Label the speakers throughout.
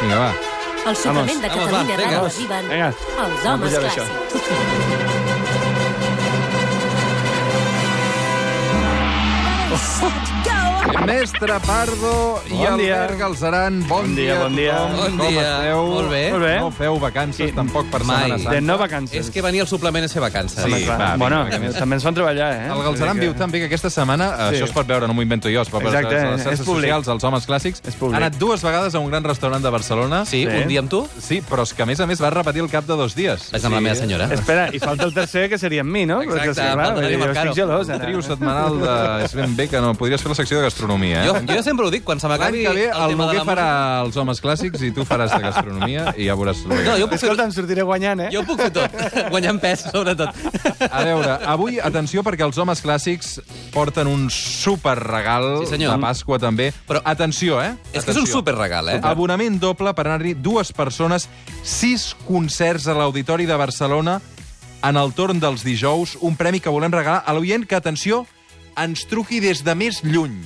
Speaker 1: Vinga, va.
Speaker 2: El suplement de
Speaker 1: Vamos, vamos, va,
Speaker 2: Catalunya
Speaker 1: vinga.
Speaker 2: Ràdio arriben
Speaker 3: Vinga.
Speaker 2: els
Speaker 3: Vam
Speaker 2: homes
Speaker 3: pujar bé, això.
Speaker 2: clàssics.
Speaker 4: Mestre Pardo i
Speaker 3: Bon dia.
Speaker 4: Albert Galzeran, bon,
Speaker 3: Bon dia,
Speaker 4: dia, a
Speaker 3: bon dia.
Speaker 4: tothom.
Speaker 1: Bon
Speaker 4: Com
Speaker 1: dia.
Speaker 4: esteu?
Speaker 1: Molt bé.
Speaker 3: Molt bé.
Speaker 4: No feu vacances
Speaker 3: Sí.
Speaker 4: tampoc per
Speaker 1: Mai.
Speaker 4: Setmana
Speaker 3: De
Speaker 4: Santa.
Speaker 3: no vacances.
Speaker 1: És que venir al suplement és fer vacances.
Speaker 4: Sí,
Speaker 3: Home, clar.
Speaker 4: va,
Speaker 3: bueno,
Speaker 4: vinga,
Speaker 3: també,
Speaker 4: vinga.
Speaker 3: també ens fan treballar, eh?
Speaker 4: El Galzeran
Speaker 3: Vull dir
Speaker 4: viu tan bé que aquesta setmana, sí. això es pot veure, no m'ho invento jo, es pot veure
Speaker 3: Exacte,
Speaker 4: a les
Speaker 3: és
Speaker 4: xarxes
Speaker 3: públic.
Speaker 4: socials, als homes clàssics,
Speaker 3: És públic.
Speaker 4: ha anat dues vegades a un gran restaurant de Barcelona.
Speaker 1: Sí,
Speaker 3: Sí.
Speaker 1: un dia amb tu?
Speaker 4: Sí, però és que a més a més va repetir el cap de dos dies.
Speaker 1: Vaig amb la meva senyora.
Speaker 3: Espera, i falta el tercer, que seria amb mi, no?
Speaker 1: Exacte,
Speaker 3: Perquè, clar,
Speaker 1: falta
Speaker 3: vull dir,
Speaker 1: Dani
Speaker 3: jo
Speaker 1: Marcaro.
Speaker 3: estic gelós, ara.
Speaker 4: Trio setmanal de... És ben bé que no. Podries fer la secció de gastronomia, eh?
Speaker 1: Jo, jo sempre ho dic, quan se
Speaker 4: L'any
Speaker 1: m'acabi
Speaker 4: que ve
Speaker 1: el
Speaker 4: el
Speaker 1: tema de
Speaker 4: Noguer
Speaker 1: la
Speaker 4: farà
Speaker 1: música...
Speaker 4: els homes clàssics i tu faràs de gastronomia i ja veuràs... el que-
Speaker 1: No, jo puc, fer,
Speaker 3: Escolta, em sortiré guanyant, eh?
Speaker 1: jo puc fer tot. Guanyant pes, sobretot.
Speaker 4: A veure, avui, atenció, perquè els homes clàssics porten un super regal
Speaker 1: Sí, senyor.
Speaker 4: de Pasqua, també. Però atenció, eh?
Speaker 1: És que és un
Speaker 4: Atenció.
Speaker 1: superregal, eh?
Speaker 4: Abonament doble per anar-hi dues persones, sis concerts a l'Auditori de Barcelona en el torn dels dijous, un premi que volem regalar a l'oient que, atenció, ens truqui des de més lluny.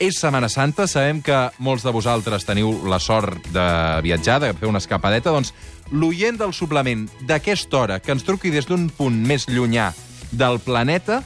Speaker 4: És Setmana Santa, sabem que molts de vosaltres teniu la sort de viatjar, de fer una escapadeta, doncs l'oient del suplement d'aquesta hora, que ens truqui des d'un punt més llunyà del planeta,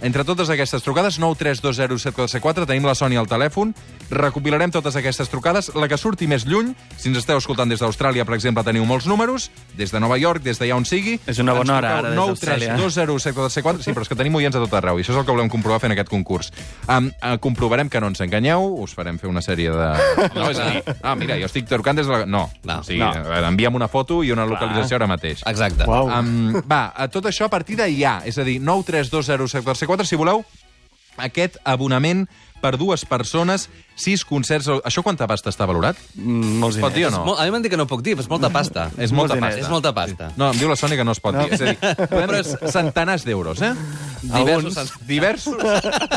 Speaker 4: entre totes aquestes trucades, 9320744, tenim la Sònia al telèfon, recopilarem totes aquestes trucades, la que surti més lluny, si ens esteu escoltant des d'Austràlia, per exemple, teniu molts números, des de Nova York, des d'allà on sigui...
Speaker 3: És una bona hora, ara, des d'Austràlia.
Speaker 4: 9320744, sí, però és que tenim oients a tot arreu, i això és el que volem comprovar fent aquest concurs. Um, uh, comprovarem que no ens enganyeu, us farem fer una sèrie de... No, és a dir, ah, mira, jo estic trucant des de la... No,
Speaker 1: No.
Speaker 4: o sigui,
Speaker 3: No.
Speaker 4: no. enviem una foto i una localització ara mateix.
Speaker 1: Exacte.
Speaker 3: Uau.
Speaker 4: Um, va, a tot això a partir de ja, és a dir, 9320744, si voleu, aquest abonament per dues persones, sis concerts... Això quanta pasta està valorat?
Speaker 3: Mm, Molts
Speaker 4: Es pot dir o
Speaker 3: diners.
Speaker 4: no?
Speaker 1: Mol- A mi m'han dit que no puc dir, però és molta pasta.
Speaker 4: És molta
Speaker 3: Molts diners.
Speaker 4: pasta.
Speaker 1: És molta pasta.
Speaker 4: No, em diu la Sònia que no es pot dir. És a dir, podem dir centenars d'euros, eh? Alguns,
Speaker 1: Diversos cent-
Speaker 4: diversos.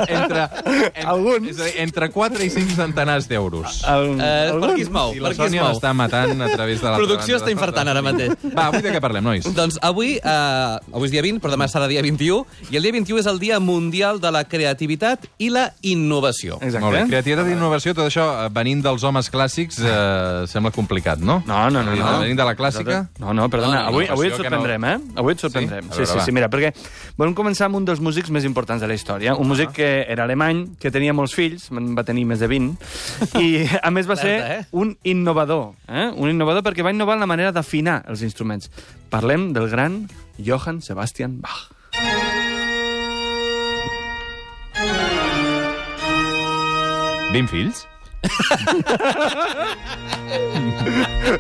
Speaker 4: Entre, en,
Speaker 3: Alguns.
Speaker 4: És a dir, entre 4 i 5 centenars d'euros.
Speaker 3: El-
Speaker 1: Eh, per
Speaker 3: algun-
Speaker 1: qui es mou?
Speaker 4: I
Speaker 1: Per
Speaker 4: la
Speaker 1: qui es
Speaker 4: Sònia
Speaker 1: mou?
Speaker 4: m'està matant a través de la...
Speaker 1: Producció està infartant ara mateix.
Speaker 4: Va, avui de què parlem, nois?
Speaker 1: Doncs avui, eh, avui és dia 20, però demà serà dia 21, i el dia 21 és el Dia Mundial de la Creativitat i la Innovació.
Speaker 3: Exacte.
Speaker 4: Molt bé. Creativitat i innovació, tot això, eh, venint dels homes clàssics, eh, sembla complicat, no? Ah,
Speaker 3: No, no, no. no.
Speaker 4: Venint de la clàssica?
Speaker 3: No, no, perdona.
Speaker 1: No, no,
Speaker 3: avui,
Speaker 4: no,
Speaker 3: avui
Speaker 4: passió
Speaker 3: et
Speaker 4: que
Speaker 3: sorprendrem, eh? Avui et sorprendrem.
Speaker 4: Sí? A
Speaker 3: Sí,
Speaker 4: veure,
Speaker 3: sí,
Speaker 4: va.
Speaker 3: sí, mira, perquè volem començar amb un dels músics més importants de la història. Un músic que era alemany, que tenia molts fills, en va tenir més de 20, i a més va
Speaker 1: Alerta, eh?
Speaker 3: ser un innovador, eh? Un innovador perquè va innovar en la manera d'afinar els instruments. Parlem del gran Johann Sebastian Bach.
Speaker 4: No. 20 fills?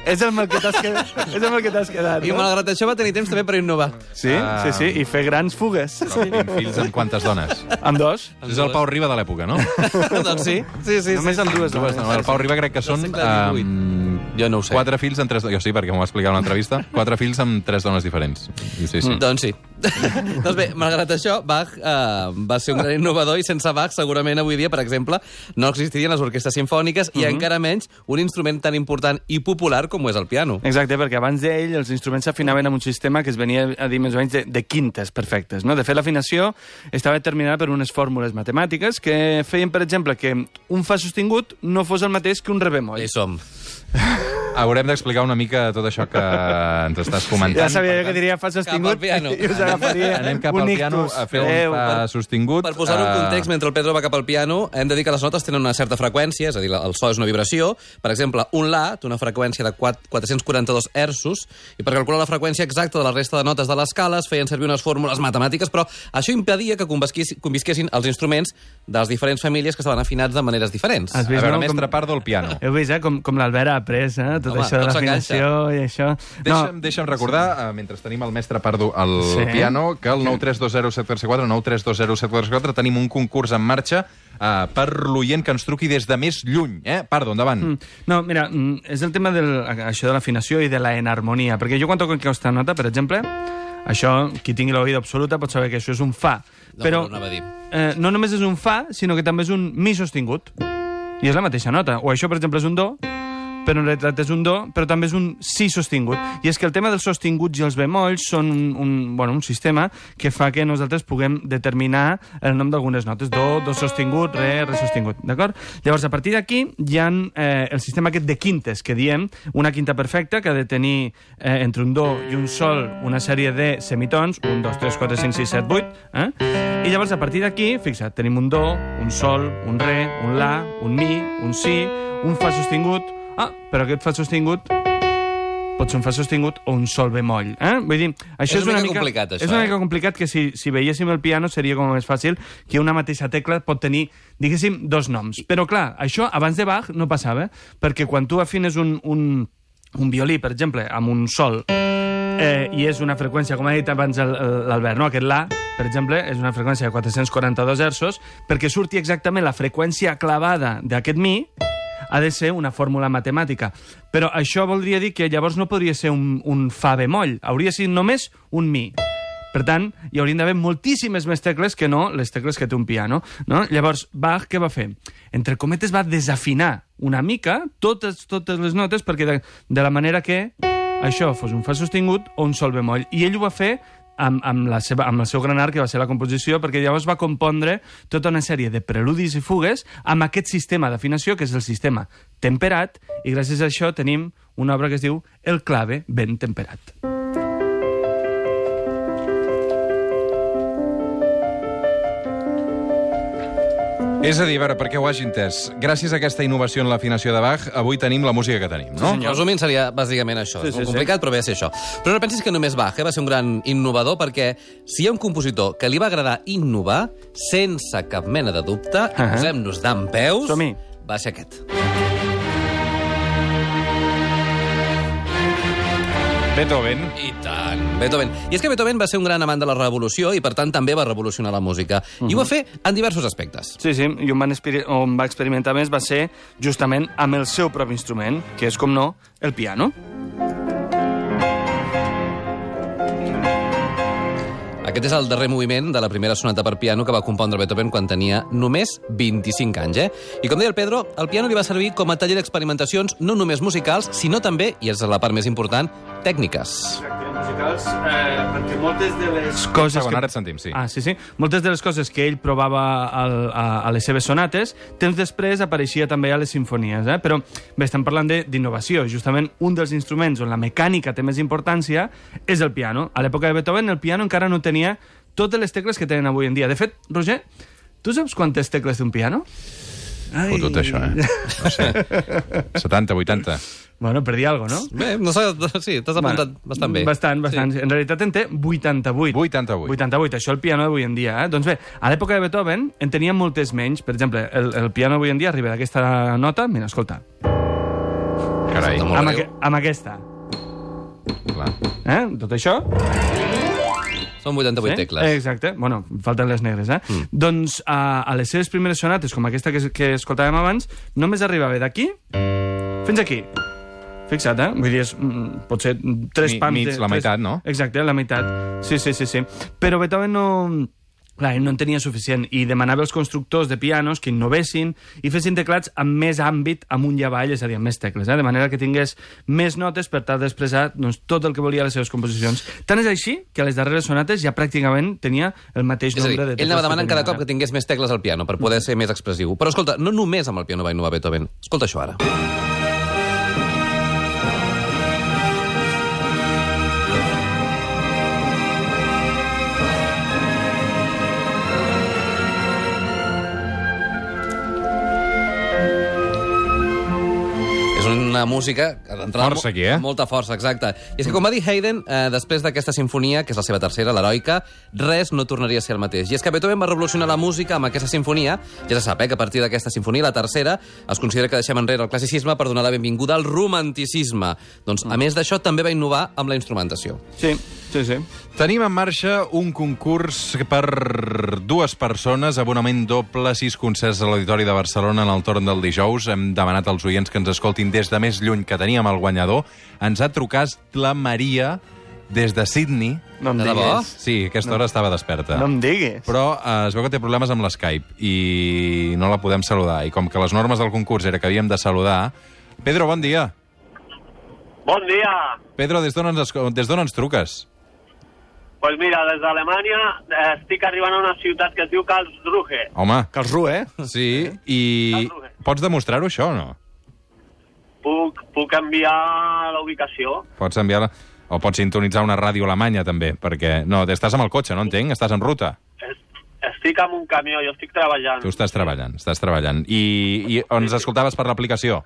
Speaker 3: És amb el que t'has quedat, és amb el que t'has quedat.
Speaker 1: I
Speaker 3: No?
Speaker 1: malgrat això va tenir temps també per innovar.
Speaker 3: Sí,
Speaker 4: Ah.
Speaker 3: sí, sí, i fer grans fugues.
Speaker 4: 20 fills amb quantes dones?
Speaker 3: Amb dos.
Speaker 4: És el Pau Riba de l'època, no?
Speaker 1: doncs sí, sí, sí.
Speaker 3: Només
Speaker 1: sí.
Speaker 3: amb dues.
Speaker 4: Dues, no, el Pau Riba crec que són...
Speaker 1: segle XVIII.
Speaker 4: ehm,
Speaker 1: Jo no ho sé.
Speaker 4: Quatre fills amb tres... Jo sí, perquè m'ho va explicar en una entrevista. Quatre fills amb tres dones diferents. Sí,
Speaker 3: Mm.
Speaker 4: sí.
Speaker 1: Doncs sí. doncs bé, malgrat això, Bach eh, va ser un gran innovador i sense Bach segurament avui dia, per exemple, no existirien les orquestes sinfòniques i encara menys un instrument tan important i popular com ho és el piano.
Speaker 3: Exacte, perquè abans d'ell els instruments s'afinaven amb un sistema que es venia a dir més o menys de, de quintes perfectes. No? De fet, l'afinació estava determinada per unes fórmules matemàtiques que feien, per exemple, que un fa sostingut no fos el mateix que un re bemoll.
Speaker 1: Hi som.
Speaker 4: Haurem d'explicar una mica tot això que ens estàs
Speaker 3: Ja
Speaker 4: comentant.
Speaker 3: sabia jo que diria fa
Speaker 1: Cap al
Speaker 3: sostingut
Speaker 1: piano.
Speaker 3: i us agafaria
Speaker 4: Anem cap al
Speaker 3: un
Speaker 4: piano
Speaker 3: ictus.
Speaker 4: a fer un
Speaker 3: Adéu.
Speaker 4: pa sostingut.
Speaker 1: Per posar-ho en
Speaker 4: eh,
Speaker 1: context, mentre el Pedro va cap al piano, hem de dir que les notes tenen una certa freqüència, és a dir, la- el so és una vibració. Per exemple, un la té una freqüència de quat- 442 hertzos, i per calcular la freqüència exacta de la resta de notes de l'escala es feien servir unes fórmules matemàtiques, però això impedia que convisquis- convisquessin els instruments de les diferents famílies que estaven afinats de maneres diferents.
Speaker 3: Has
Speaker 4: A
Speaker 3: vist,
Speaker 4: veure,
Speaker 3: no?
Speaker 4: mestre
Speaker 3: Com-
Speaker 4: Pardo, el piano.
Speaker 3: Heu vist, eh, com, com l'Albert ha après, eh? Tot
Speaker 1: Home,
Speaker 3: això de
Speaker 1: tot
Speaker 3: l'afinació i això.
Speaker 4: Deixa'm, deixa'm recordar, eh, mentre tenim el mestre Pardo al sí.
Speaker 3: Sí.
Speaker 4: piano, que el 9320744, 9320744, tenim un concurs en marxa eh, per l'oient que ens truqui des de més lluny. Eh? Pardo, endavant. Mm.
Speaker 3: No, mira, mm, és el tema del, això de l'afinació i de la enharmonia, perquè jo quan toco aquesta nota, per exemple, això, qui tingui l'oïda absoluta pot saber que això és un fa,
Speaker 1: No,
Speaker 3: però
Speaker 1: no, anava a dir.
Speaker 3: eh, no només és un fa, sinó que també és un mi sostingut, i és la mateixa nota, o això, per exemple, és un do, però en realitat és un do, però també és un si sostingut. I és que el tema dels sostinguts i els bemolls són un, un, bueno, un sistema que fa que nosaltres puguem determinar el nom d'algunes notes. Do, do sostingut, re, re sostingut, d'acord? Llavors, a partir d'aquí hi ha eh, el sistema aquest de quintes, que diem una quinta perfecta que ha de tenir eh, entre un do i un sol una sèrie de semitons, un, dos, tres, quatre, cinc, sis, set, vuit, eh? I llavors, a partir d'aquí, fixa't, tenim un do, un sol, un re, un la, un mi, un si, un fa sostingut, ah, però aquest fa sostingut pot ser un fa sostingut o un sol bemoll. Eh? Vull dir, això
Speaker 1: És
Speaker 3: és,
Speaker 1: una
Speaker 3: una,
Speaker 1: mica complicat, això,
Speaker 3: És una
Speaker 1: eh?
Speaker 3: mica complicat que si, si veiéssim el piano seria com més fàcil que una mateixa tecla pot tenir, diguéssim, dos noms. Però clar, això abans de Bach no passava, eh? perquè quan tu afines un, un, un violí, per exemple, amb un sol, eh, i és una freqüència, com ha dit abans el- el- l'Albert, no? aquest la, per exemple, és una freqüència de 442 hertzos, perquè surti exactament la freqüència clavada d'aquest mi, ha de ser una fórmula matemàtica. Però això voldria dir que llavors no podria ser un, un fa bemoll, hauria de ser només un mi. Per tant, hi haurien d'haver moltíssimes més tecles que no les tecles que té un piano. No? Llavors, Bach què va fer? Entre cometes va desafinar una mica totes, totes les notes perquè de, de la manera que això fos un fa sostingut o un sol bemoll. I ell ho va fer amb, amb, la seva, amb el seu gran art, que va ser la composició, perquè llavors va compondre tota una sèrie de preludis i fugues amb aquest sistema d'afinació, que és el sistema temperat, i gràcies a això tenim una obra que es diu El clave ben temperat.
Speaker 4: És a dir, a veure, perquè ho hagi entès, gràcies a aquesta innovació en l'afinació de Bach, avui tenim la música que tenim, no?
Speaker 1: No? Sí, Ah, Resumint, seria bàsicament això.
Speaker 3: Sí, sí,
Speaker 1: Sí, sí,
Speaker 3: sí.
Speaker 1: complicat, però ve a ser això. Però no pensis que només Bach eh? va ser un gran innovador, perquè si hi ha un compositor que li va agradar innovar, sense cap mena de dubte, uh -huh.
Speaker 3: Ahà.
Speaker 1: posem-nos d'en peus,
Speaker 3: Som-hi.
Speaker 1: va ser aquest.
Speaker 4: Beethoven.
Speaker 1: I tant. Beethoven. I és que Beethoven va ser un gran amant de la revolució i, per tant, també va revolucionar la música. Uh -huh. I ho va fer en diversos aspectes.
Speaker 3: Sí, sí, i on, van experi- on va experimentar més va ser justament amb el seu propi instrument, que és, com no, el piano.
Speaker 1: Aquest és el darrer moviment de la primera sonata per piano que va compondre Beethoven quan tenia només 25 anys, eh? I com deia el Pedro, el piano li va servir com a taller d'experimentacions no només musicals, sinó també, i és la part més important, tècniques.
Speaker 3: musicals, eh, perquè moltes de les coses...
Speaker 4: Segon, ara et sentim, sí.
Speaker 3: Ah, sí, sí. Moltes de les coses que ell provava al, a, a les seves sonates, temps després apareixia també a les sinfonies. Eh? Però bé, estem parlant de- d'innovació. Justament un dels instruments on la mecànica té més importància és el piano. A l'època de Beethoven el piano encara no tenia totes les tecles que tenen avui en dia. De fet, Roger, tu saps quantes tecles té un piano? Ai.
Speaker 4: Fotut, això, eh? No sé. 70, 80.
Speaker 3: Bueno, per dir alguna cosa, no?
Speaker 1: Bé, no sé, sí, t'has apuntat bueno, bastant bé.
Speaker 3: Bastant, bastant. Sí. En realitat en té 88.
Speaker 4: 88.
Speaker 3: 88, això el piano d'avui en dia. Eh? Doncs bé, a l'època de Beethoven en tenia moltes menys. Per exemple, el, el piano avui en dia arriba d'aquesta nota... Mira, escolta.
Speaker 4: Carai,
Speaker 1: Molt
Speaker 3: Amb,
Speaker 1: greu.
Speaker 3: aque- amb aquesta.
Speaker 4: clar.
Speaker 3: Eh? Tot això.
Speaker 1: Són 88 tecles.
Speaker 3: Eh, Exacte. Bueno, falten les negres, eh? Mm. Doncs a, a les seves primeres sonates, com aquesta que, que escoltàvem abans, només arribava d'aquí fins aquí. Fixa't, eh? Vull dir, és, mm, potser mm, tres
Speaker 4: Mi-
Speaker 3: pams...
Speaker 4: mig,
Speaker 3: de-
Speaker 4: la
Speaker 3: tres-
Speaker 4: meitat, no?
Speaker 3: Exacte, la meitat. Sí, sí, sí, sí. Però Beethoven no... Clar, ell no en tenia suficient i demanava als constructors de pianos que innovessin i fessin teclats amb més àmbit amunt i avall, és a dir, amb més tecles, eh? de manera que tingués més notes per tal d'expressar doncs, tot el que volia a les seves composicions. Tant és així que a les darreres sonates ja pràcticament tenia el mateix
Speaker 1: És a dir,
Speaker 3: nombre de
Speaker 1: ell anava
Speaker 3: que
Speaker 1: demanant
Speaker 3: tenia
Speaker 1: cada
Speaker 3: ara.
Speaker 1: cop que tingués més tecles al piano per poder ser més expressiu. Però escolta, no només amb el piano va innovar Beethoven. Escolta això ara. És una música que d'entrada...
Speaker 4: Força,
Speaker 1: mo-
Speaker 4: aquí, eh?
Speaker 1: Molta força, exacte. I és que, com va dir Haydn, eh, després d'aquesta sinfonia, que és la seva tercera, l'heroica, res no tornaria a ser el mateix. I és que Beethoven va revolucionar la música amb aquesta sinfonia. Ja se sap, eh, que a partir d'aquesta sinfonia, la tercera, es considera que deixem enrere el classicisme per donar la benvinguda al romanticisme. Doncs,
Speaker 3: Mm.
Speaker 1: a més d'això, també va innovar amb la instrumentació.
Speaker 3: Sí, sí, sí.
Speaker 4: Tenim en marxa un concurs per dues persones, abonament doble, sis concerts a l'Auditori de Barcelona en el torn del dijous. Hem demanat als oients que ens escoltin des de més lluny que teníem el guanyador. Ens ha trucat la Maria des de Sydney.
Speaker 3: No em
Speaker 1: De debò?
Speaker 3: diguis.
Speaker 4: Sí, aquesta hora estava desperta.
Speaker 3: No em diguis.
Speaker 4: Però eh, es veu que té problemes amb l'Skype i no la podem saludar. I com que les normes del concurs era que havíem de saludar, Pedro, bon dia.
Speaker 2: Bon dia.
Speaker 4: Pedro, des d'on ens, esco- des d'on ens truques?
Speaker 2: Pues mira, des d'Alemanya eh, estic arribant a una ciutat que es diu Karlsruhe.
Speaker 4: Home,
Speaker 3: Calsrue, eh?
Speaker 4: sí, i
Speaker 2: eh?
Speaker 4: pots demostrar-ho, això, o no?
Speaker 2: Puc, puc enviar la ubicació?
Speaker 4: Pots enviar-la... O pots sintonitzar una ràdio alemanya, també, perquè... No, estàs amb el cotxe, no entenc? Estàs en ruta.
Speaker 2: Es- Estic amb un camió, jo estic treballant.
Speaker 4: Tu estàs treballant, estàs treballant. I, i ens escoltaves per l'aplicació.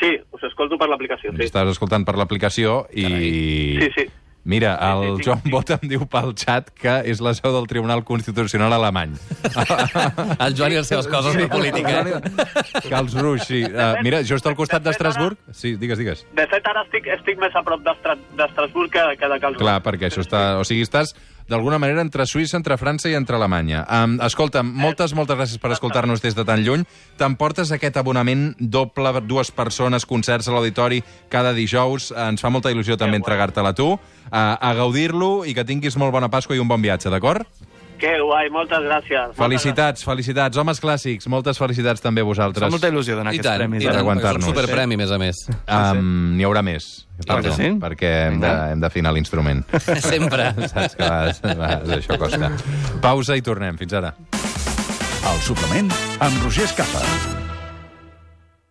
Speaker 2: Sí, us escolto per l'aplicació,
Speaker 4: Ens
Speaker 2: sí.
Speaker 4: estàs escoltant per l'aplicació i...
Speaker 2: Sí, sí.
Speaker 4: Mira,
Speaker 2: Sí, sí,
Speaker 4: el
Speaker 2: sí,
Speaker 4: Joan
Speaker 2: sí.
Speaker 4: Bot em diu pel xat que és la seu del Tribunal Constitucional Alemany.
Speaker 1: El Joan i les seves coses de política. eh?
Speaker 4: Calsruix, sí. Uh, mira, just al costat d'Estrasburg... Sí, digues, digues.
Speaker 2: De fet, ara estic, estic més a prop d'Estra- d'Estrasburg que, que de Karlsruhe.
Speaker 4: Clar, perquè això està... O sigui, estàs d'alguna manera entre Suïssa, entre França i entre Alemanya. Um, escolta'm, moltes, moltes gràcies per escoltar-nos des de tan lluny. T'emportes aquest abonament doble, dues persones, concerts a l'auditori cada dijous. Eh, Ens fa molta il·lusió també entregar-te-la a tu. Uh, a gaudir-lo i que tinguis molt bona Pasqua i un bon viatge, d'acord?
Speaker 2: Que guai, moltes gràcies. Moltes
Speaker 4: Felicitats, felicitats. Homes clàssics, moltes felicitats també a
Speaker 3: Fa
Speaker 4: vosaltres.
Speaker 3: molta il·lusió donar
Speaker 1: I
Speaker 3: aquests
Speaker 1: tant,
Speaker 3: premis. eh?
Speaker 1: i
Speaker 4: per
Speaker 1: tant. És un
Speaker 4: aguantar-nos.
Speaker 1: superpremi, a més a més.
Speaker 4: Um, N'hi haurà més,
Speaker 3: Clar que
Speaker 4: perdó,
Speaker 3: sí.
Speaker 4: perquè hem de,
Speaker 3: Vinga.
Speaker 4: hem d'afinar l'instrument.
Speaker 1: Sempre.
Speaker 4: Saps que a vegades, a vegades això costa. Pausa i tornem. Fins ara.
Speaker 5: El suplement amb Roger Escapa.